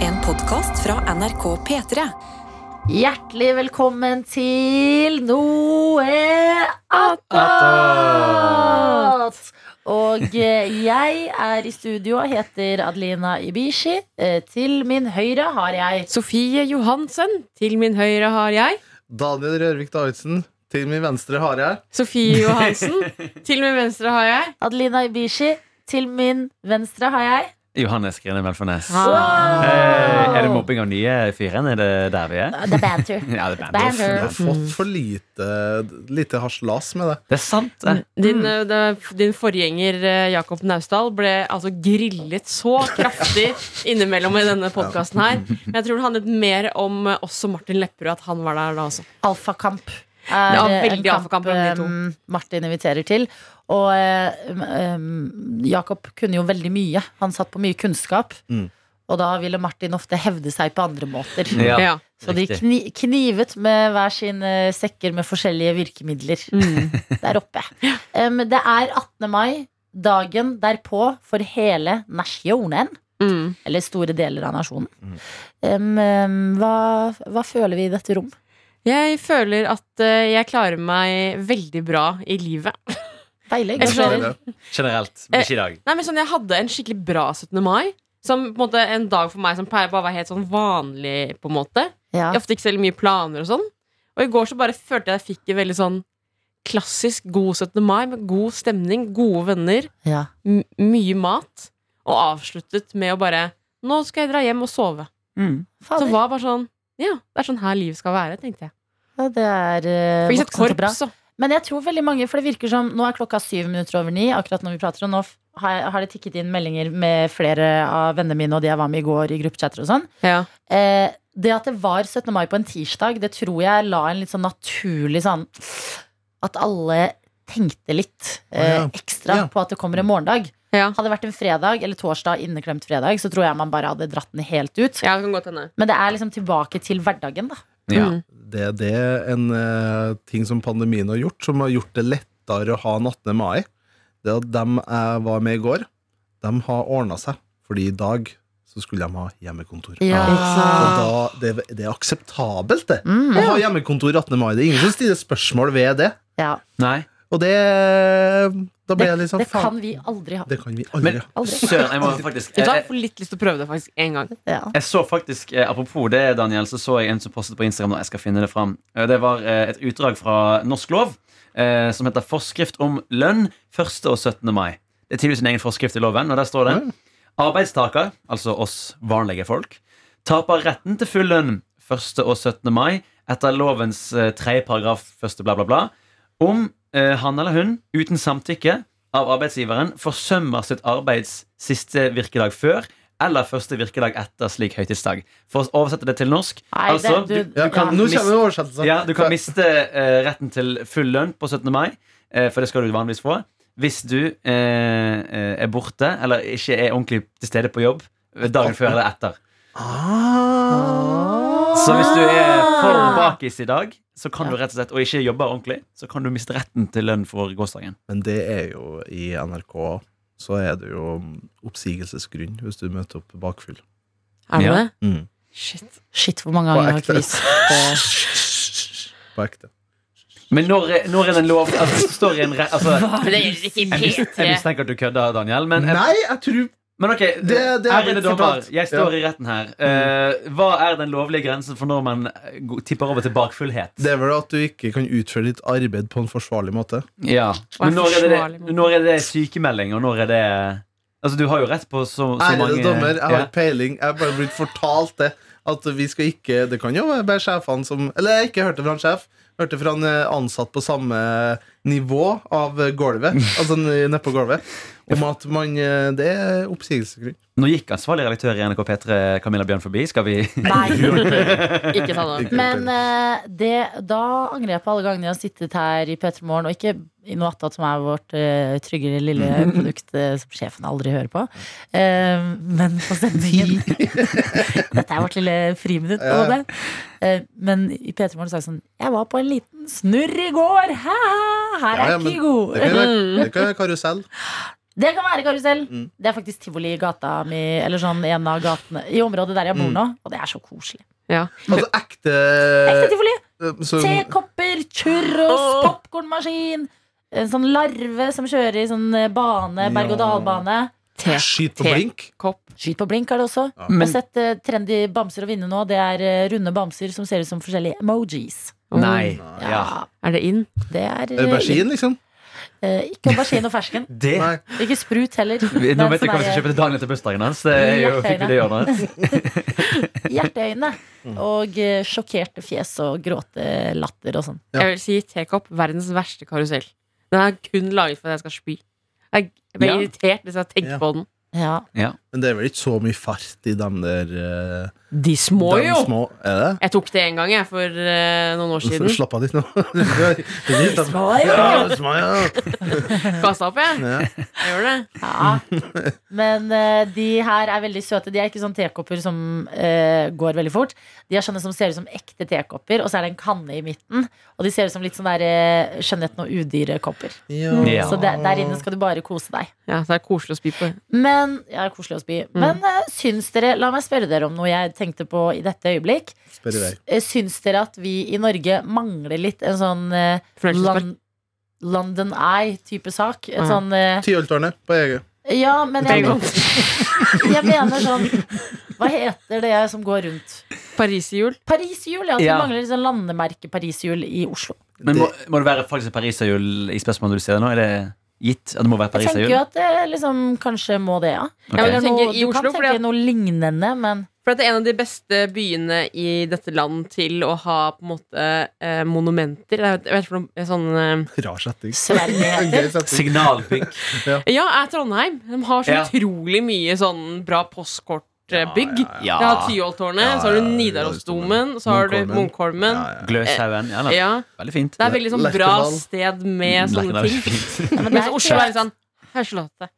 En podkast fra NRK P3. Hjertelig velkommen til Noe attåt! Og eh, jeg er i studio og heter Adelina Ibishi. Eh, Til min høyre har jeg Sofie Johansen. Til min høyre har jeg. Daniel Rørvik Davidsen. Til min venstre har jeg Sofie Johansen. Til min venstre har jeg. Adelina Ibishi. Til min venstre har jeg Johannes Grine Melfarnes. Ah. Eh, er det mobbing av nye fyren? Er det der vi er? The Banter. Ja, det er Banter. bandos. Jeg har fått for lite, lite haslas med det. Det er sant, det. Din, eh, da- din forgjenger eh, Jakob Naustdal ble altså grillet så kraftig innimellom i denne podkasten her. Men jeg tror det handlet mer om eh, også Martin Lepperød, at han var der da også. Alfakamp Det er var eh, en veldig kamp alfakamp mellom de to. eh, Martin inviterer til. Og eh, em, Jakob kunne jo veldig mye. Han satt på mye kunnskap. Mm. Og da ville Martin ofte hevde seg på andre måter. Ja. Ja. Så de Riktig. kni knivet med hver sine sekker med forskjellige virkemidler Mm. der oppe. Em, det er 18. mai, dagen derpå for hele nasjonen. Mm. Eller store deler av nasjonen. Mm. Em, em, hva, hva føler vi i dette rom? Jeg føler at eh, jeg klarer meg veldig bra i livet. Deilig. Jeg skjønner. gratulerer. Generelt. men Ikke i dag. Nei, men sånn, Jeg hadde en skikkelig bra 17. mai. Som på en måte en dag for meg som pleier bare å være helt sånn vanlig. på en måte Ja. Jeg har ofte ikke så veldig mye planer og sånn. Og i går så bare følte jeg jeg fikk en veldig sånn klassisk god 17. mai med god stemning, gode venner, Ja. m mye mat. Og avsluttet med å bare Nå skal jeg dra hjem og sove. Mm. Så Fader, var bare sånn Ja, det er sånn her livet skal være, tenkte jeg. ja, det er eh, Fikk sett voksent og bra. korps og Men jeg tror veldig mange, for det virker som Nå er klokka syv minutter over ni Akkurat når vi prater Og nå f- har, jeg- har det tikket inn meldinger med flere av vennene mine Og de jeg var med i går i gruppechatter og sånn ja. eh, Det at det var 17. mai på en tirsdag Det tror jeg la en litt sånn naturlig sånn At alle tenkte litt eh, Å, ja. ekstra Ja. på at det kommer en morgendag Ja. Hadde det vært en fredag eller torsdag inneklemt fredag Så tror jeg man bare hadde dratt den helt ut ja, det kan godt hende. Men det er liksom tilbake til hverdagen da Ja. Mm. Det, det er en eh, ting som pandemien har gjort, som har gjort det lettere å ha en 18. mai. Det at dem jeg var med i går, de har ordna seg. Fordi i dag så skulle de ha hjemmekontor. sånn- Og da, det, det er akseptabelt, det. Mm. Å ha hjemmekontor 18. mai. Det er ingen som stiller spørsmål ved det. ja. Nei. Og det Da Det, ble jeg litt sånn det kan faen, vi aldri ha Det kan vi Men aldri. ha. Aldri. søren, jeg må faktisk Vet du hva, Jeg jeg, får litt lyst til å prøve det faktisk en gang. ja. jeg så faktisk, eh, Apropos det, Daniel, så så jeg en som postet på Instagram. nå, Jeg skal finne Det fram Eh, Det var eh, et utdrag fra norsk lov eh, som heter 'Forskrift om lønn 1. og 17. mai'. Det er tydeligvis en egen forskrift i loven, og der står det Arbeidstaker, altså oss vanlige folk, taper retten til full lønn 1. og 17. mai etter lovens eh, tredje paragraf første bla, bla, bla, om eh, han eller hun uten samtykke av arbeidsgiveren forsømmer sitt arbeids siste virkedag før eller første virkedag etter slik høytidsdag. For å oversette det til norsk Nei, det- altså, du- Ja, du kan nå miste- kommer oversettelsen. ja, du kan miste eh, retten til full lønn på 17. mai, eh, for det skal du vanligvis få. Hvis du eh, eh, er borte eller ikke er ordentlig til stede på jobb eh, dagen før eller etter. Ah. Så hvis du er for bakis i dag, så kan du rett og slett, og ikke jobber ordentlig, så kan du miste retten til lønn for gårsdagen. Men det er jo i NRK så er det jo oppsigelsesgrunn hvis du møter opp bakfyll. Er det Ja. det? Mm. Shit. Shit, hvor mange ganger jeg har ekte. kvist på På ekte. Men når, er- når er den lov altså, står i en re, altså, Jeg mistenker at du kødder, Daniel, men Nei, jeg tror Men ok, det er ærede blitt dommer, fortalt. jeg står i retten her. Mm. Eh, hva er den lovlige grensen for når man eh, go- tipper over til bakfullhet? Det er vel at du ikke kan utføre ditt arbeid på en forsvarlig måte. Ja. Og Men en når er det, forsvarlig måte. når er det sykemelding, og når er det Altså, du har jo rett på så, så mange Ærede dommer, jeg har ja. ikke peiling. Jeg er bare blitt fortalt det. At vi skal ikke Det kan jo være sjefene som Eller jeg har ikke hørt det fra en sjef. Hørte fra en eh, ansatt på samme nivå av eh, gulvet, altså nedpå gulvet, om at man eh, Det er oppsigelsesgrunn. Nå gikk ansvarlig redaktør i NRK P3 Camilla Bjørn forbi. Skal vi Nei. Ikke ta det. Men eh, det, da angrer jeg på alle gangene jeg har sittet her i P3 Morgen, og ikke i noe attåt som er vårt eh, tryggere lille produkt eh, som sjefen aldri hører på. Eh, men på sendingen Dette er vårt lille friminutt på Ja. det. Eh, men i P3 Morgen sa jeg sånn Jeg var på en liten snurr i går! Hæ? Her er Ja, ja, jeg men ikke god! Mm. Det kan være, det kan være karusell. Det kan være karusell. Mm. Det er faktisk tivoli i gata mi, eller sånn en av gatene i området der jeg bor Mm. nå. Og det er så koselig. Ja. Altså ekte, Ekte tivoli! eh, så- Tekopper, churros, Åh. popkornmaskin. En sånn larve som kjører i sånn eh, bane, berg-og-dal-bane. Skyt på Te- blink. Kopp. Skyt på blink er det også. Jeg Men har sett eh, trendy bamser å vinne nå. Det er eh, runde bamser som ser ut som forskjellige emojis. nei. Oh, Ja. Ja, Er det inn? det er eh, Aubergine, liksom. eh, Ikke aubergine og fersken. Det Nei. Ikke sprut heller. Det Nå er vet jeg hva vi skal sånn kjøpe til dagen etter bursdagen hans. Det er jo Hjerteøyne. fikk vi det hjørnet. der Hjerteøyne og eh, sjokkerte fjes og gråtelatter og sånn. Ja. Jeg vil si tekopp. Verdens verste karusell. Den er kun laget for at jeg skal spy. Jeg blir Ja. irritert hvis jeg tenker Ja. på den. Ja. Men det er vel ikke så mye fart i dem der eh, De små, dem jo! små. Er det? Jeg tok det en gang jeg, for eh, noen år siden. Slapp av litt nå. De små, Ja, de små, ja. Kasta opp, jeg. Ja. jeg gjør det. Ja. Men eh, de her er veldig søte. De er ikke sånn tekopper som eh, går veldig fort. De er sånne som ser ut som ekte tekopper, og så er det en kanne i midten. Og de ser ut som litt sånn der eh, skjønnheten og udyret-kopper. Ja. Så der, der inne skal du bare kose deg. Ja, så er det koselig å spy på. Men ja, koselig å spy. Mm. Men eh, syns dere La meg spørre dere om noe jeg tenkte på i dette øyeblikk. Spør i vei. Eh, Syns dere at vi i Norge mangler litt en sånn eh, Fornøyelsespark. Lon London Eye-type sak? Et Ah, ja. sånn eh, Tyholttårnet på Ege. Ja, men jeg, jeg mener sånn Hva heter det som går rundt? Pariserhjul. Pariserhjul, ja. At Ja. vi mangler liksom landemerke Pariserhjul i Oslo. Men må, må det være faktisk pariserhjul i spørsmålet du ser nå? Er det gitt at det må være Jeg tenker pariserhjul? jo at det liksom kanskje må det, ja. Ok. Ja, men Eller jeg tenker noe, i du kan Oslo, fordi tenke at- noe lignende, men For at det er en av de beste byene i dette land til å ha på en måte eh, monumenter. Jeg vet, jeg vet, ikke om- sånn, eh, Rar setting. svermeheter. Gøy setting. Signalbygg. ja, er Trondheim. De har så Ja. utrolig mye sånn bra postkortbygg. Ja, Ja. Det har Tyholttårnet, Ja, så har ja, du ja, Nidarosdomen, så har du Ja, Munkholmen. ja. Gløshaugen. Ja, Ja, nei. Veldig fint. Det er veldig sånn bra Lerkendal. sted med sånne Lerkendal er ting. fint. Men det Mens er Oslo ikke- er litt sånn Her slår det.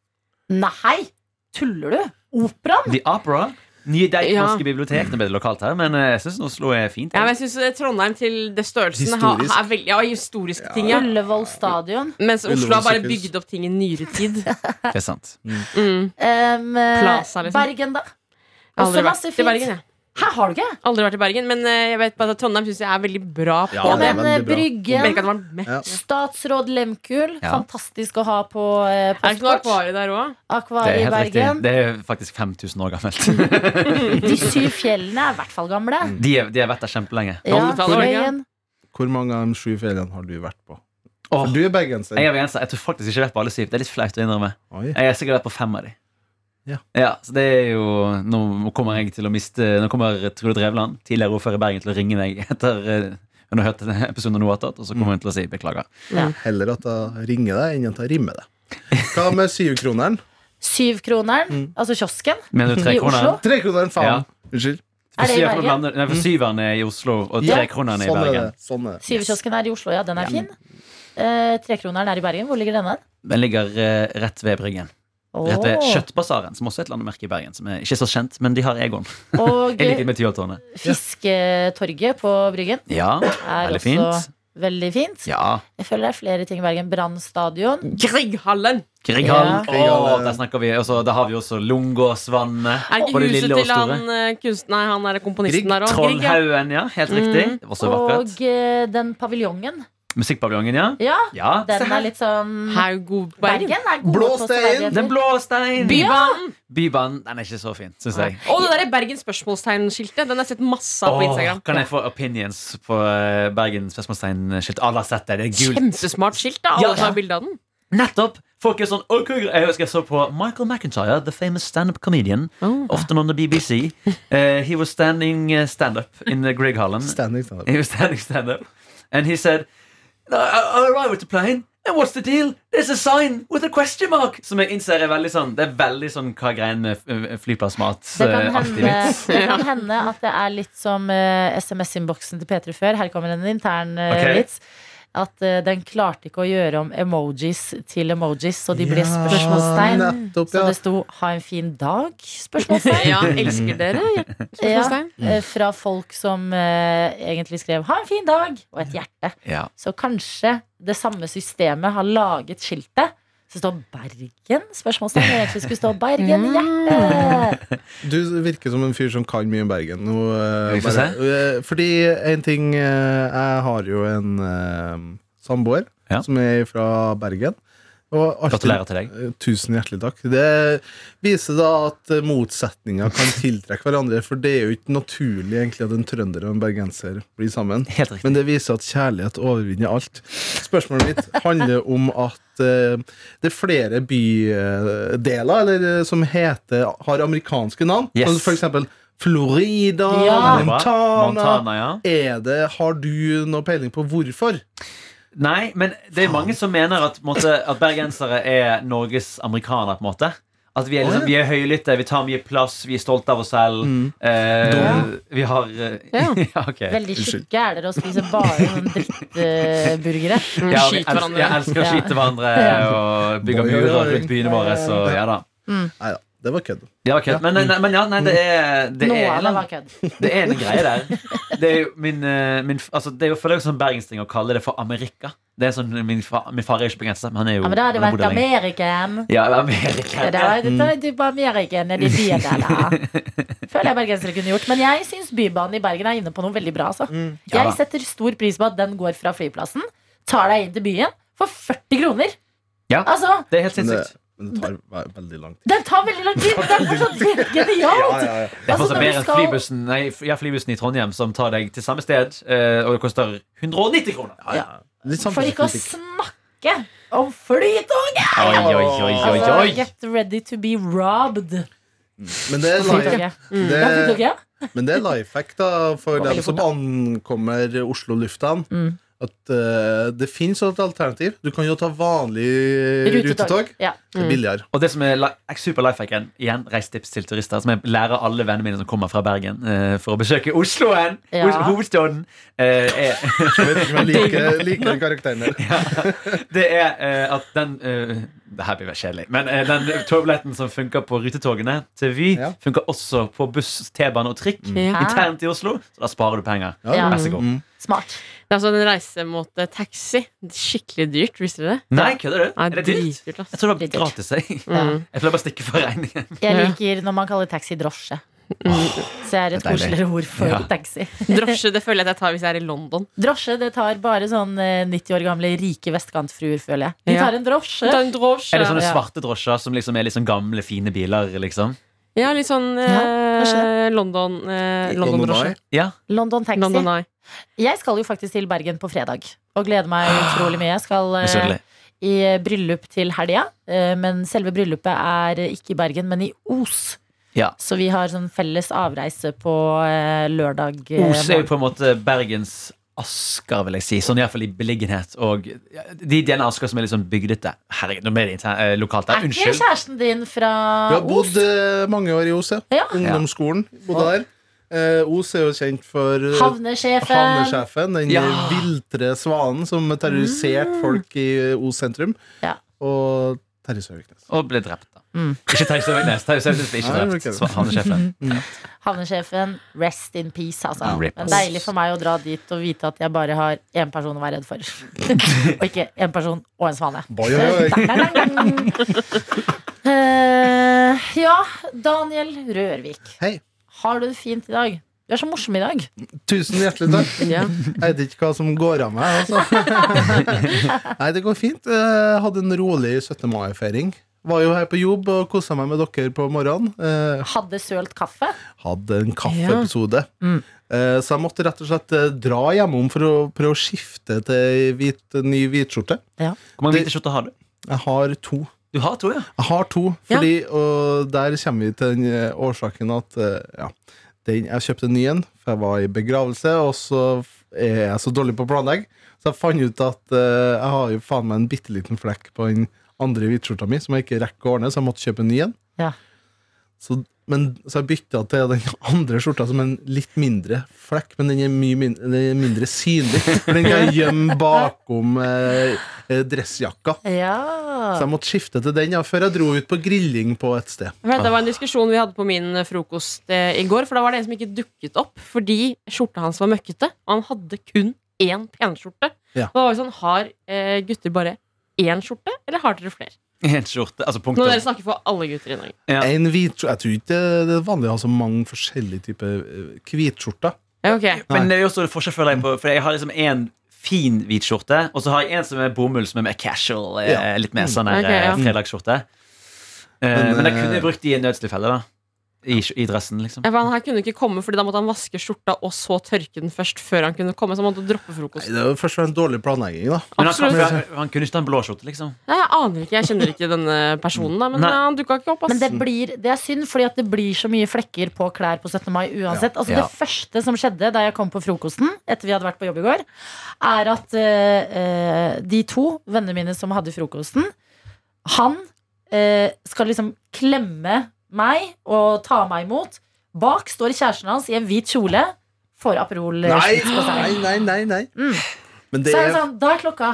Nei! Tuller du? Operaen? The Opera. Nye Dijk Ja. Norske bibliotek. Nå ble det lokalt her, men eh, jeg syns Oslo er fint. altså. Ja, men jeg syns Trondheim til det størrelsen har, Historisk. er veldig, ja, historiske ting. Ja. Ullevål stadion. Mens Oslo har bare Ullevål sykehus. bygd opp ting i nyere tid. Det er sant. Mm. Um, Plaza, liksom. Bergen, da. Jeg har Også Aldri vært masse i fint. Bergen, jeg. Her har du ikke? Aldri vært i Bergen, men eh, jeg vet bare at Trondheim syns jeg er veldig bra på Ja, Ja, det er men eh, veldig bra. Jeg merker at Bryggen. det var med. Ja. Statsråd Lemkuhl. Ja. Fantastisk å ha på eh, Er det ikke noe postkort. akvarie der òg? Det er Akvariet i helt riktig. Bergen. Det er faktisk 5000 år gammelt. De syv fjellene er i hvert fall gamle. De, er, de har vært der kjempelenge. Ja, Dolmetallet, var det ikke? Fløyen. Hvor mange av de sju feriene har du vært på? Åh. For du er bergenser. Jeg, er bergenser. jeg tror faktisk ikke jeg har vært på alle syv. Det er litt flaut å innrømme. Oi. Jeg har sikkert vært på fem av de. Ja. så det er jo Nå kommer jeg til å miste Nå kommer Trude Drevland, tidligere ordfører i Bergen, til å ringe meg etter eh, hun har hørt denne episoden av Noatat, og så kommer hun til å si beklager. Heller at jeg ringer deg enn at jeg rimmer deg. Hva med syvkroneren? Syvkroneren, Mm. altså kiosken. Mener du tre I kroner? Oslo? Trekroneren, Ja. faen! Unnskyld. For Er det i syveren Bergen? blander- nei, for syveren er i Oslo, og Ja, trekroneren er i Sånn er det. Bergen. Sånn er det. Syvkiosken er i Oslo, ja. Den er fin. Eh, Trekroneren er i Bergen. Hvor ligger den? hen? Den ligger eh, rett ved Bryggen. Rett ved Åh. Kjøttbasaren, som også er et landemerke i Bergen. Som er ikke så kjent, men de har Egon. Og Jeg liker eh, med Tyholttårnet. Fisketorget på Bryggen Ja, er veldig også fint. veldig fint. Ja. Mm, Jeg føler det er flere ting i Bergen. Brann stadion. Grieghallen! Grieghallen. Ja. Åh, der snakker vi. Og så der har vi også Lungåsvannet. Er det ikke Både huset lille og til store. han eh, kunst... Nei, han er komponisten Grieg. der òg. Trollhaugen, ja. Helt Mm. riktig. Det var så Og vakkert. eh, den paviljongen. Musikkpaviljongen, ja. Ja, ja. den er litt sånn Haugoberg. Bergen er gode Blå på stein. severdigheter. Den blå stein. Bybanen! Bybanen. Den er ikke så fin, syns jeg. Og det derre Bergen spørsmålstegn-skiltet. Den har jeg sett masse av på Åh, Instagram. kan jeg få opinions på eh, Ah, Bergen spørsmålstegn-skilt? Alle har sett det. Det er gult. Kjempesmart skilt, da. Ja, Alle ja. tar bilde av den. Nettopp! Folk er sånn «Åh, hvor er det?» Jeg husker jeg så på Michael McIntyre, the famous stand-up comedian. Oh. Often on the BBC. Eh, he was standing eh, stand-up in the Grieg Hallen. Standing, sånn standing. He was standing stand-up. And he said, "No, I, I arrive with the plane. And what's the deal? There's a sign with a question mark! Som jeg innser er veldig sånn Det er veldig sånn hva greien med eh, flyplassmat Det kan, eh, alltid hende, vits. det kan hende at det er litt som eh, SMS-innboksen til P3 før. Her kommer en intern eh, Ok. vits. At eh, den klarte ikke å gjøre om emojis til emojis, så de ble Ja, spørsmålstegn. Nettopp, Så ja. det sto 'ha en fin dag?' spørsmålstegn. Ja, elsker dere? Spørsmålstegn. Eh, Fra folk som eh, egentlig skrev 'ha en fin dag' og et hjerte. Ja. Så kanskje det samme systemet har laget skiltet Så det står Bergen? Spørsmålstegn. Det egentlig skulle stå Bergen hjerte. Du virker som en fyr som kan mye om Bergen. Nå, eh, Vil du få bare, eh, fordi en ting eh, Jeg har jo en eh, samboer Ja. som er fra Bergen. og alltid- Gratulerer til deg. Eh, Tusen hjertelig takk. Det viser da at eh, motsetninger kan tiltrekke hverandre. For det er jo ikke naturlig egentlig at en trønder og en bergenser blir sammen. Helt riktig. Men det viser at kjærlighet overvinner alt. Spørsmålet mitt handler om at eh, det er flere bydeler eller, eh, som heter, har amerikanske navn. Yes. Som for eksempel Florida, Ja. Montana. Montana, ja. Er det, har du noe peiling på hvorfor? Nei, men det er mange som mener at, på en måte, at bergensere er Norges amerikanere, på en måte. At vi er, liksom, vi er høylytte, vi tar mye plass, vi er stolte av oss selv. Eh, Dum. vi har eh, Ja. ja, ok. Veldig Unnskyld. tjukke er dere og spiser bare sånne drittburgere. Ja, Skyter vi elsker, jeg hverandre. elsker å Ja. skyte hverandre og bygge Boing, murer boing. rundt byene våre, så ja da. Nei da, det var kødd. Ja, ok. Men, nei, men ja, nei, det er Det Noe er, av det en- var kødd. det er en greie der. Det er jo min, eh, min altså, Det er jo føler jeg som bergensting å kalle det for Amerika. Det er sånn, Min, fa, min far er ikke bergenser, men han er jo Ja, men da har det han har vært bodd der lenge. Ameriken. Ja, Amerika. Det der, det der, det var Ameriken eller de der, da. Føler jeg bergensere kunne gjort. Men jeg syns Bybanen i Bergen er inne på noe veldig bra. Altså. Mm. Ja da. Jeg setter stor pris på at den går fra flyplassen, tar deg inn til byen for 40 kroner. Ja. Altså, Det er helt Men det, sinnssykt. men det tar ve- veldig lang tid. den tar veldig lang tid! Det er fortsatt helt genialt! ja, ja. Det er Altså, fortsatt når vi bedre enn skal- flybussen, nei, f- ja, flybussen i Trondheim, som tar deg til samme sted, eh, og det koster 190 kroner. Ja, ja. Litt For ikke å samfunnspolitikk. snakke om flytoget! Oi, oi, oi, oi, Altså, oi. get ready to be robbed. Men det er live. Flytoget. Ja, flytoget, Det, ja. men det er life hack da, for Og dem som ankommer Oslo lufthavn. Mm. At eh, det fins et alternativ. Du kan jo ta Eh, vanlig rutetog. Ja. Det er billigere. Og det som er li- super lifehacken, igjen reisetips til turister, som jeg lærer alle vennene mine som kommer fra Bergen, eh, for å besøke Osloen, Ja. Os- hovedstaden, eh, er, Jeg vet ikke om jeg liker, liker den karakteren der. det er eh, at den eh, Det her blir vel kjedelig, men eh, den togbilletten som funker på rutetogene til Vy, Ja. funker også på buss, T-bane og trikk Mm. Ja. internt i Oslo, så da sparer du penger. Ja. Vær så god. Mm. Smart. Det er altså en reisemåte taxi. Skikkelig dyrt, visste dere det? Nei, kødder du? Nei, Er det dyrt? dritdyrt, ass. Jeg tror det Litt var dyrt. gratis. Jeg, jeg Mm. pleier bare å stikke for regningen. Jeg Ja. liker når man kaller taxi drosje. Så er det et Mm. Det er deilig. koseligere ord for Ja. taxi. Drosje det føler jeg at jeg tar hvis jeg er i London. Drosje det tar bare sånn eh, 90 år gamle rike vestkantfruer, føler jeg. De Ja. tar en drosje. Ta en drosje. Er det sånn- Ja. sånne svarte drosjer som liksom er litt sånn gamle, fine biler? liksom? Ja, litt sånn Ja, kanskje eh, London eh, London London-drosje. Eye. Ja, London taxi. London Eye. Jeg skal jo faktisk til Bergen på fredag. Og gleder meg utrolig mye. Jeg skal eh, Misunnelig. i eh, bryllup til helga. eh, Men selve bryllupet er eh, ikke i Bergen, men i Os. Ja. Så vi har sånn felles avreise på eh, lørdag. eh, Os er jo morgen. på en måte Bergens Asker, vil jeg si. Sånn iallfall i beliggenhet. Og ja, de delene av Asker som er litt sånn bygdete. Herregud, nå ble det inter- eh, lokalt der. Er ikke Unnskyld. kjæresten din fra Du har Ah, Os? bodd eh, mange år i Os, ja. Ja. Ungdomsskolen. Bodde der. Eh, Os er jo kjent for eh, Havnesjefen. Havnesjefen, den Ja. viltre svanen som terroriserte Mm. folk i eh, Os sentrum. Ja. Og Terje Søviknes. Og ble drept, da. Mm. Ikke Terje Søviknes. Terje Søviknes ble Nei, ikke drept. ok. Sva- Havnesjefen. Havnesjefen, rest in peace, altså. Rip. Men deilig for meg å dra dit og vite at jeg bare har én person å være redd for. og ikke én person og en svane. Oi, oi, oi. Eh, ja, Daniel Rørvik. Hei. Har du det fint i dag? Du er så morsom i dag. Tusen hjertelig takk. Ja. Jeg vet ikke hva som går av meg. Altså. Nei, det går fint. Jeg hadde en rolig 17. mai-feiring. Var jo her på jobb og kosa meg med dere på morgenen. Eh, Hadde sølt kaffe. Hadde en kaffeepisode. Eh, Så jeg måtte rett og slett eh, dra hjemom for å prøve å skifte til hvit, ny hvitskjorte. Hvor mange hvite skjorter har du? Jeg har to. Du har to, ja. Jeg har to, fordi, og der kommer vi til den eh, årsaken at eh, ja, den, jeg kjøpte en ny en, for jeg var i begravelse, og så f- er jeg så dårlig på å planlegge. Så jeg fant ut at eh, jeg har jo faen meg en bitte liten flekk på den andre hvitskjorta mi som jeg ikke rekker å ordne, så jeg måtte kjøpe en ny en. Ja. Så, men, så jeg bytta til den andre skjorta som en litt mindre flekk, men den er mye mindre, den er mindre synlig. For den kan jeg gjemme bakom eh, eh, dressjakka. Så Ja. jeg måtte skifte til den ja, før jeg dro ut på grilling på et sted. Men Det var en diskusjon vi hadde på min frokost eh, i går. For da var det en som ikke dukket opp fordi skjorta hans var møkkete. Og han hadde kun én penskjorte. Ja. Og da var det sånn, Har eh, gutter bare én skjorte, eller har dere flere? En skjorte. Altså Nå dere punktum. snakker for alle gutter i Norge. Ja. En hvit, jeg tror ikke det er vanlig å ha så mange forskjellige typer eh, hvitskjorter. Ja, ok. Men det er jo også forskjell for deg på For jeg har liksom en fin hvit skjorte, og så har jeg en som er bomull, som er mer casual. eh, Ja. Litt mer sånn her, Ok, ja. eh, fredagsskjorte. Eh, Men, Men eh, jeg kunne jeg brukt de i nødstilfelle, da. I, sk- I dressen, liksom. Ja, for han her kunne ikke komme, Fordi da måtte han vaske skjorta og så tørke den først. før han kunne komme Så han måtte droppe Nei, frokost. det er jo først og fremst dårlig planlegging, da. Men han, Absolutt. han, han kunne ikke ta en blå skjorte, liksom. Nei, Jeg aner ikke, jeg kjenner ikke denne personen, da men Nei. eh, han dukka ikke opp. ass Men det, blir, det er synd, fordi at det blir så mye flekker på klær på 17. mai uansett. Altså Ja. Det første som skjedde da jeg kom på frokosten etter vi hadde vært på jobb i går, er at eh, eh, de to vennene mine som hadde frokosten, han eh, skal liksom klemme meg og ta meg imot. Bak står kjæresten hans i en hvit kjole, får Aperol eh, Nei, Spritz på nei, seg. nei. nei, nei. Mm. Men det Så er er det sånn, da er klokka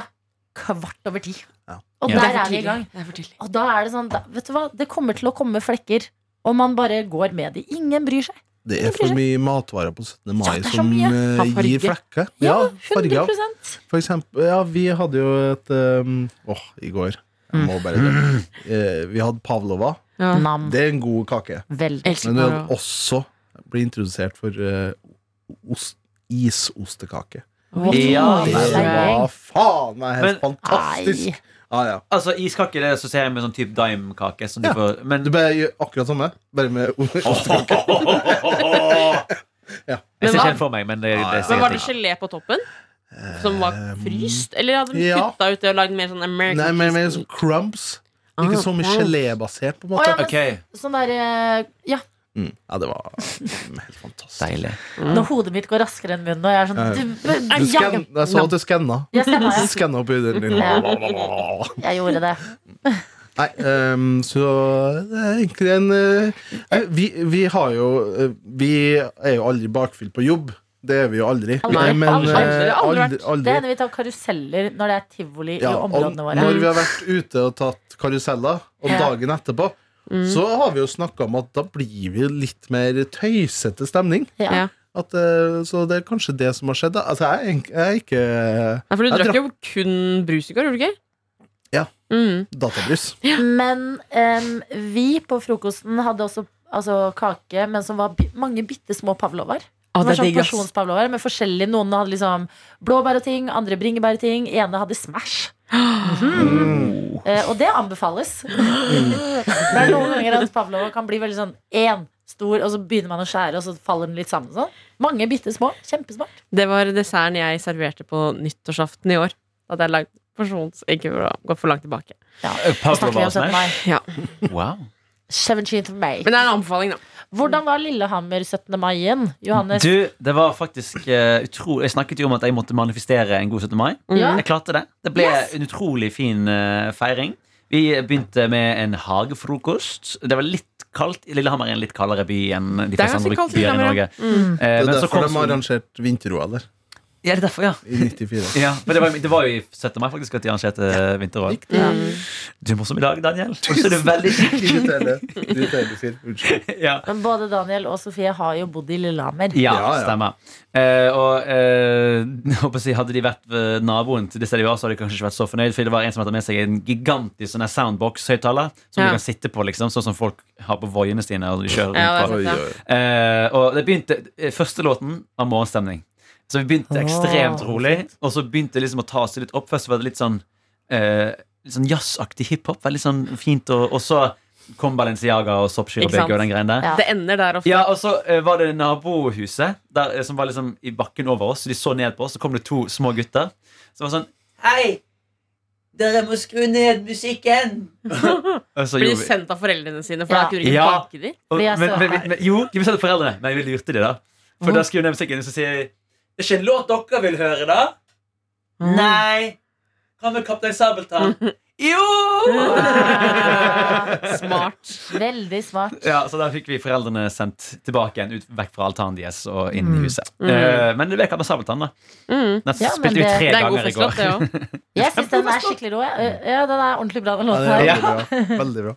kvart over ti. Ja. Og Ja. der er vi i gang. Det er for tidlig. Og da er det sånn, da, vet du hva, det kommer til å komme flekker. Og man bare går med de. Ingen bryr seg. Det er for mye matvarer på 17. mai Ja, det er så som mye. eh, Ha farge. gir flekker. Ja, Ja, farger. 100 For eksempel, ja, vi hadde jo et um, Åh, i går. Jeg Mm. må bare Eh, Vi hadde pavlova. Ja. Nam. Det er en god kake. Veldig. Elsker Men vi bare hadde også blitt introdusert for eh, ost, isostekake. å- Ja, Det Nei, var faen meg Men- helt fantastisk! Nei. Ja, ja. Altså, Iskake det assosierer jeg med sånn type daimkake. Som Ja. du får, men Du bare gjør akkurat samme, bare med Ja. Men Jeg ser hva- ikke den for meg, men det, det Men ser Var jeg det til. gelé på toppen? Som var fryst? Eller hadde de Eh, ja. kutta ut det og lagd mer sånn American Nei, men mer cheese? som crumbs. Ikke Ah, så mye crumbs. gelébasert, på en Å, ja, måte. men- Ok, Sånn der eh, Ja, Mm. Ja, det var helt fantastisk. deilig. når hodet mitt går raskere enn munnen, og jeg er Ja, sånn ja. du, eh, Du ja, skan, jeg så at du skanna. Jeg skanna, ja. Skanna opp i den din. Ja. Nei, Jeg gjorde det. ehm, så det er egentlig en eh, vi, vi har jo eh, Vi er jo aldri bakfylt på jobb. Det er vi jo aldri. Aldri. Men, Aldri. eh, Det har aldri vært. Det hender vi tar karuseller når det er tivoli i Ja, og områdene våre. når vi har vært ute og tatt karuseller, og Ja. Mm. dagen etterpå, så har vi jo snakka om at da blir vi litt mer tøysete stemning. Ja. Ja. At, eh, så det er kanskje det som har skjedd. da. Altså, jeg, er egentlig- jeg er ikke eh, Nei, for du Jeg drakk jo kun brus i går, gjorde du ikke? Ja. Mm. databrus. Men em, vi på frokosten hadde også altså, kake, men som var bi mange bitte små pavlover. Ah, Det var det er sånn digg, ass. porsjonspavlover med forskjellig. Noen hadde liksom blåbær og ting, andre bringebær og ting. Ene hadde Smash. Mhm. Eh, og det anbefales. det er noen ganger at pavlova kan bli veldig sånn én stor, og så begynner man å skjære, og så faller den litt sammen. Sånn. Mange bitte små. Kjempesmart. Det var desserten jeg serverte på nyttårsaften i år. Da hadde jeg lagd porsjons... Ikke for å gå for langt tilbake. Snakker vi om 17. mai. Ja. 17th of May. Men det er en anbefaling, da. Hvordan var Lillehammer 17. mai igjen, Johannes? Du, det var faktisk eh, utrolig Jeg snakket jo om at jeg måtte manifestere en god 17. mai. Ja. Jeg klarte det. Det ble Yes! en utrolig fin eh, feiring. Vi begynte med en hagefrokost. Det var litt kaldt. Lillehammer er en litt kaldere by enn de Det er fleste ganske andre kaldt i byer i Lillehammer, Norge. ja. Mm. Eh, Det er men så derfor kom de har solen. arrangert vinter-OL der, Ja, det er derfor, ja. i 94. Ja, for det var, det var jo i 17. mai faktisk at de arrangerte eh, vinter-OL. Du er morsom i dag, Daniel. Og så er du veldig Irriterende. Irriterende, Siv. Unnskyld. ja. Men både Daniel og Sofie har jo bodd i Lillehammer. Ja, Ja, ja. stemmer. Eh, og eh, jeg håper å si, hadde de vært ved naboen til det stedet vi var, så hadde de kanskje ikke vært så fornøyd, for det var en som hadde med seg en gigantisk sånn her soundbox-høyttaler som Ja. du kan sitte på, liksom, sånn som folk har på voiene sine og de kjører Ja, det er rundt på. sant. Oi, oi. Eh, og det begynte, eh, første låten var morgenstemning. Så vi begynte Ah, ekstremt Åh. rolig, og så begynte det liksom å ta seg litt opp. Først var det litt sånn eh, Litt sånn jazzaktig hiphop, veldig sånn fint, og, og så kom Balenciaga og Soppsky og Ikke sant? Begge og den greien der. Ja. Det ender der ofte. Ja, og så eh, var det nabohuset der, eh, som var liksom i bakken over oss. Så de så ned på oss, så kom det to små gutter som var sånn Hei! Dere må skru ned musikken! og så Blir de gjorde vi sendt av foreldrene sine, for Ja. da kunne de ikke Ja. bake de. og, Fordi men, jeg så- men, men, men, Jo, de bestemte foreldrene, men vi lurte de da. For da skrev de ned musikken, og så sier de Det er ikke en låt dere vil høre, da? Nei! Hva med Kaptein Sabeltann? jo! Ah, Smart. Veldig smart. Ja, Så da fikk vi foreldrene sendt tilbake igjen, ut, vekk fra altanen deres og inn i huset. Mm. Eh, men det ble Kaptein Sabeltann, da. Mm. Ja, Den spilte men vi det- tre Det er en god ganger i går. festlåt, det òg. Jeg syns den er skikkelig rå. jeg. Ja, den er ordentlig bra, den Ja, låten det er her. Ja. veldig bra. Veldig bra.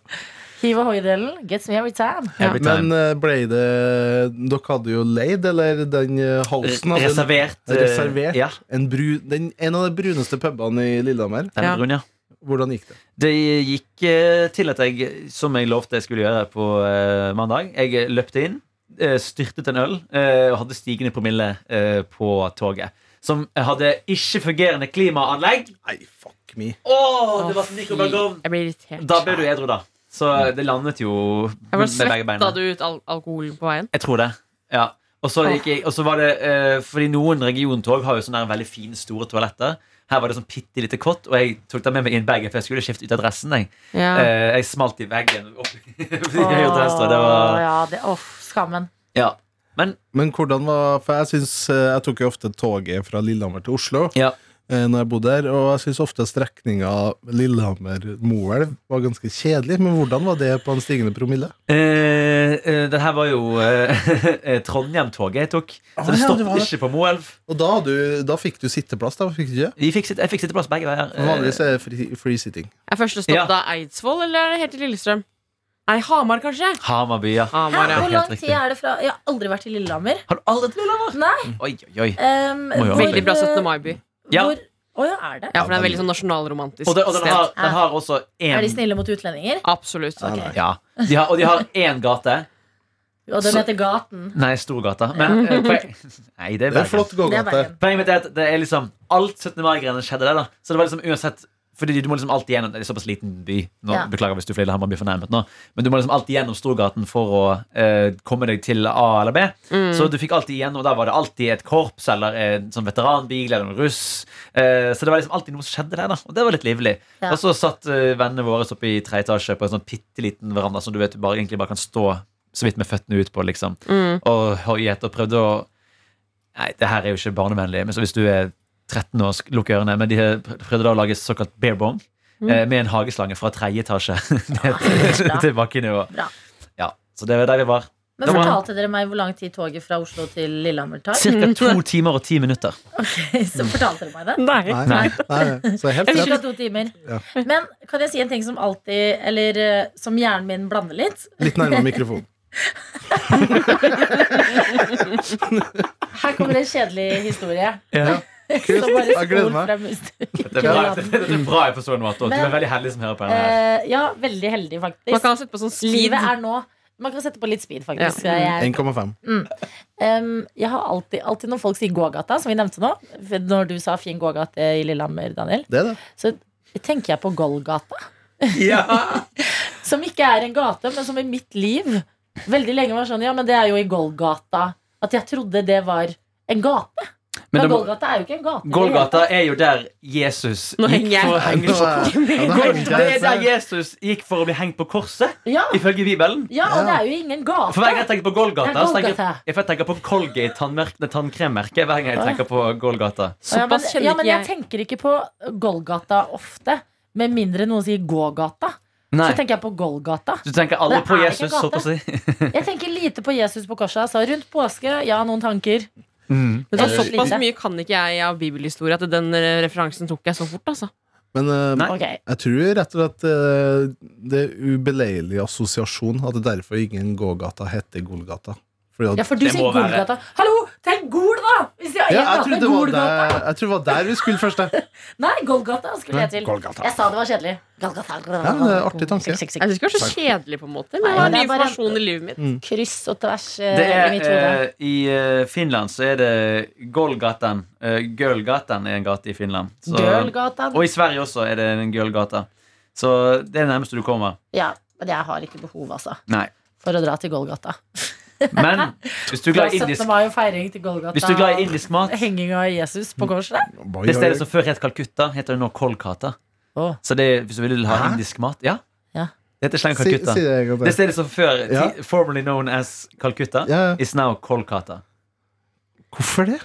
Hiv og hoi-delen. Gets me every time. Every time. Men eh, ble det Dere hadde jo leid, eller den eh, halsen hadde Reservert. eh, Reservert. Ja. En, bru, den, en av de bruneste pubene i Lillehammer. Den Ja. brun, ja. Hvordan gikk det? Det gikk eh, til at jeg, som jeg lovte jeg skulle gjøre på eh, mandag Jeg løpte inn, eh, styrtet en øl eh, og hadde stigende promille eh, på toget. Som hadde ikke fungerende klimaanlegg. Nei, fuck me. Å, det var mikrobølgeovn! Jeg blir irritert. Da ble du edru, da. Så det landet jo Jeg med var begge beina. svetta du ut al alkohol på veien? Jeg tror det. Ja. Og så gikk jeg, og så var det eh, Fordi noen regiontog har jo sånne her veldig fine, store toaletter. Her var det sånn bitte lite kott, og jeg tok det med meg i en bag. For jeg skulle skifte ut adressen. Jeg, Ja. Eh, jeg smalt i veggen. opp i høyre til venstre. Det var ja, det, åh, skammen. Ja. Men hvordan var For jeg synes, eh, jeg tok jo ofte toget fra Lillehammer til Oslo Ja. eh, når jeg bodde her, og jeg syns ofte strekninga Lillehammer-Moelv var ganske kjedelig. Men hvordan var det på en stigende promille? Eh, eh, det her var jo eh, Trondheim-toget jeg tok. Ah, Så det ja, stoppet det var det. ikke på Moelv. Og da, hadde du, da fikk du sitteplass, da, fikk du ikke? Vi fikk sitt- Jeg fikk sitteplass begge veier. Eh, For Vanligvis er det free, free sitting. Er første stopp Ja. da Eidsvoll, eller er det helt til Lillestrøm? Nei, Hamar, kanskje? Eh, Hamarby, ja. Hæ, Hamar, ja. hvor helt lang riktig. tid er det fra Jeg har aldri vært i Lillehammer. Har du aldri vært i Lillehammer? Nei. Oi, oi, oi. Um, Må jo ha vært Veldig bra 17. mai-by. Ja. Hvor, å ja, er det? Ja, for det er Ja, veldig sånn nasjonalromantisk Og, det, og den, sted. har, den har også Er de én snille mot utlendinger? Absolutt. Nei, nei. ja. de har, Og de har én gate. Og den Så- heter Gaten. Nei, Storgata. Men eh, poen- Nei, Det er det er Bergen. flott Det er gågate. Bergen. Poenget mitt er at det er liksom alt 17. mai-greiene skjedde der. da Så det var liksom uansett Fordi du må liksom alltid gjennom Det er såpass liten by. Nå, Ja. Beklager hvis du fra Lillehammer blir fornærmet nå. Men du må liksom alltid gjennom Storgaten for å eh, komme deg til A eller B. Mm. Mm, Så du fikk alltid gjennom Der var det alltid et korps eller en sånn veteranbil eller en russ. Eh, så det var liksom alltid noe som skjedde der, da. Og det var litt livlig. Ja. Og så satt eh, vennene våre oppe i tredje etasje på en sånn bitte liten veranda som du vet du bare, egentlig bare kan stå så vidt med føttene ut på, liksom Mm. og hoiet og prøvde å Nei, det her er jo ikke barnevennlig, men så hvis du er 13 år, sk- lukk ørene. Men de prøvde da å lage såkalt bear bong eh, med en hageslange fra tredje etasje ned til, Mm. Ah, bra. til bakkenivå. Bra. Ja, så det var der vi var. Men Det var- fortalte dere meg hvor lang tid toget fra Oslo til Lillehammer tar? Cirka to timer og ti minutter. Så fortalte dere meg det. Nei. Nei, nei, nei, så helt Cirka rett. to timer. Ja. Men kan jeg si en ting som alltid Eller eh, som hjernen min blander litt? Litt nærmere mikrofonen. Her kommer en kjedelig historie. Ja. Kult. Så bare Jeg gleder spol meg. frem i styr. Det er bra, det er bra jeg forstår noe, Arthur. Du Men, er veldig heldig som hører på denne. her. Eh, ja, veldig heldig, Man faktisk. kan sette på sånn speed. Livet er nå. Man kan sette på litt speed, faktisk. Ja. Jeg er 1,5. Um, jeg har alltid, alltid når folk sier gågata, som vi nevnte nå for Når du sa fin gågate i Lillehammer, Daniel, Det er det. så tenker jeg på Golgata. Ja. Som ikke er en gate, men som i mitt liv veldig lenge var sånn Ja, men det er jo i Golgata. At jeg trodde det var en gate. Men, Men det må, Golgata er jo ikke en gate. i det hele tatt. Golgata er jo der Jesus Nå gikk henger jeg. for å henge Nå på er- ja, nå Gol- henger Det er der jeg- Jesus gikk for å bli hengt på korset, Ja, ifølge Bibelen. ja, og det er jo ingen For hver gang gate. jeg tenker på Golgata, Det er så tenker Golgata. jeg, for jeg tenker på Colgate tannmerk- nei, tannkremmerket. Hver gang jeg tenker på Golgata Ja, men, Såpass ja, men kjenner ikke jeg jeg. tenker ikke på Golgata ofte. Med mindre noen sier gågata. Så Nei, tenker jeg på Golgata. Du tenker alle Det på er ikke Jesus, gata. så på å si. Jeg tenker lite på Jesus på korset. Altså, rundt påske, ja, noen tanker. Mm. Men så, Eh, såpass lite. mye kan ikke jeg av bibelhistorie at den eh, referansen tok jeg så fort, altså. Men eh, Nei. Ok. jeg tror rett og slett eh, det er ubeleilig assosiasjon at det derfor ingen gågata heter Golgata. Fordi at, Ja, for du Det sier må være- Golgata. Hallo, tenk Gol, da! Hvis jeg, ja, jeg, jeg, trodde prater det var Golgata. der, jeg tror det var der vi skulle først. jeg. Nei, Golgata skulle jeg til. Golgata. Jeg sa det var kjedelig. Golgata. Ja, men det eh, er en artig tanke. Sikk, sikk, sikk. Jeg syns ikke det var så kjedelig, på en måte. Men Nei, det var det ny er bare- informasjon i livet mitt. Kryss og tvers eh, Det er, i mitt hode. eh, I eh, Finland så er det Golgatan. Eh, Gølgatan er en gate i Finland. Så, Gølgata. og i Sverige også er det en Gølgata. Så det er det nærmeste du kommer. Ja, men jeg har ikke behov, altså, Nei. for å dra til Golgata. Men hvis du er Fra glad i 17. indisk, mai og feiring til Golgata. hvis du er glad i indisk mat Henging av Jesus på korset. Det stedet som før het Calcutta, heter det nå Kolkata. Å. Så det, hvis du vil ha Hæ? indisk mat Ja. Ja. Det heter sleng Si, Calcutta. si det en gang Det til. stedet som før, Ja. ti- formerly known as Calcutta, Ja, ja. is now Kolkata. Hvorfor det?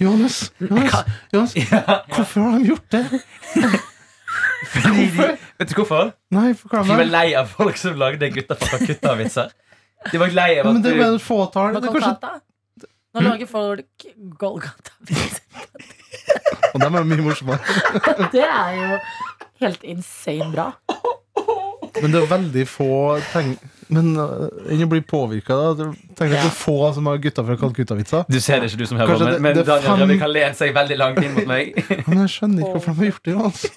Johannes, Johannes, Johannes, hvorfor har de gjort det? Fordi de, vet du hvorfor? Nei, forklar De var meg. lei av folk som lagde gutter fra Calcutta-vitser. De var lei Ja, av men at det du er bare et fåtall. På Det er kanskje- Golgata. Nå lager folk Golgata. Og de er mye morsommere. Det er jo helt insane bra. Men det er veldig få ting Men øh, enn å bli påvirka, da. Tenk at det er få som har gutta fra Calcutta-vitser. Du ser det ikke, du som hører på, Kanskje men, det- men det Daniel fem- Rønning kan lene seg veldig langt inn mot meg. Men jeg skjønner ikke hvorfor de har gjort det. Altså.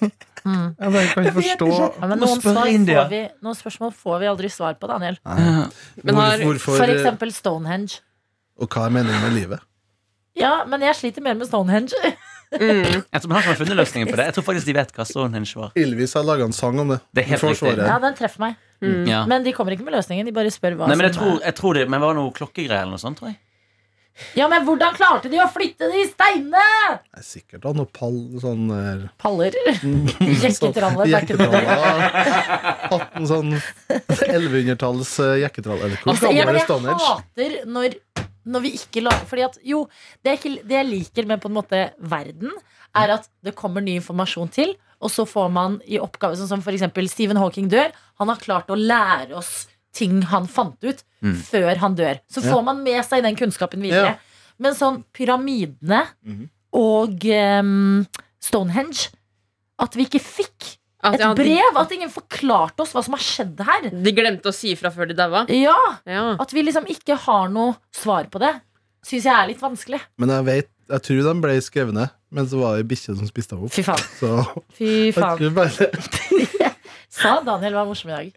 Mm. Jeg bare kan ikke forstå Ja, men Må noen, spørre svar India. får vi, noen spørsmål får vi aldri svar på, Daniel. Men har- hvor, hvorfor eh, For eksempel Stonehenge. Og hva er meningen med livet? Ja, men jeg sliter mer med Stonehenge. Jeg tror han som har funnet løsningen på det. Jeg tror faktisk de vet hva Stonehenge var. Ylvis har laga en sang om det. Det er helt Vi får riktig. svare. Ja, den treffer meg. Ja. Men de kommer ikke med løsningen. De bare spør hva Nei, men jeg som tror, jeg tror det Men var det noe klokkegreier eller noe sånt, tror jeg. Ja, men hvordan klarte de å flytte de steinene?! Det er sikkert da noe pall sånn der Paller. Jekketralle. Jekketralle. Hatt en sånn 1100-talls eh, jekketralle. Eller hvor Altså, ja, men gammel er jeg Stonehenge? hater når, når vi ikke lager Fordi at jo, det jeg, ikke, det jeg liker med på en måte verden, er at det kommer ny informasjon til, og så får man i oppgave Sånn som for eksempel Stephen Hawking dør. Han har klart å lære oss ting han fant ut, Mm. før han dør. Så Ja. får man med seg den kunnskapen videre. Ja. Men sånn pyramidene Mhm. og em, Stonehenge At vi ikke fikk At, et ja, de, brev! At ingen forklarte oss hva som har skjedd her. de glemte å si fra før de daua. Ja, Ja. at vi liksom ikke har noe svar på det, syns jeg er litt vanskelig. Men jeg vet, jeg tror de ble skrevet ned, men så var det ei bikkje som spiste dem opp. Fy faen. Så Fy jeg faen. tror bare Sa Daniel var morsom i dag.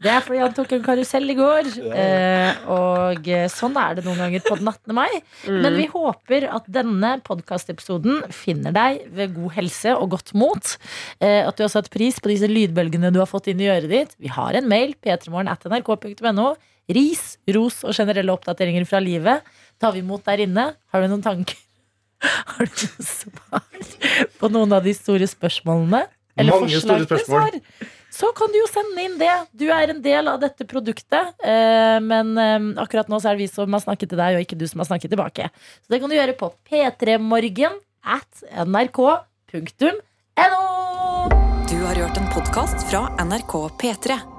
Det er fordi han tok en karusell i går. eh, Og eh, sånn er det noen ganger på den 18. mai. Men vi håper at denne podkastepisoden finner deg ved god helse og godt mot. Eh, At du har satt pris på disse lydbølgene du har fått inn i øret ditt. Vi har en mail, p3morgen.nrk.no. Ris, ros og generelle oppdateringer fra livet tar vi imot der inne. Har du noen tanker? Har du noen svar på noen av de store spørsmålene? Mange store til spørsmål. svar? Så kan du jo sende inn det. Du er en del av dette produktet. eh, Men eh, akkurat nå så er det vi som har snakket til deg, og ikke du som har snakket tilbake. Så det kan du gjøre på p3morgen at nrk.no. Du har hørt en podkast fra NRK P3.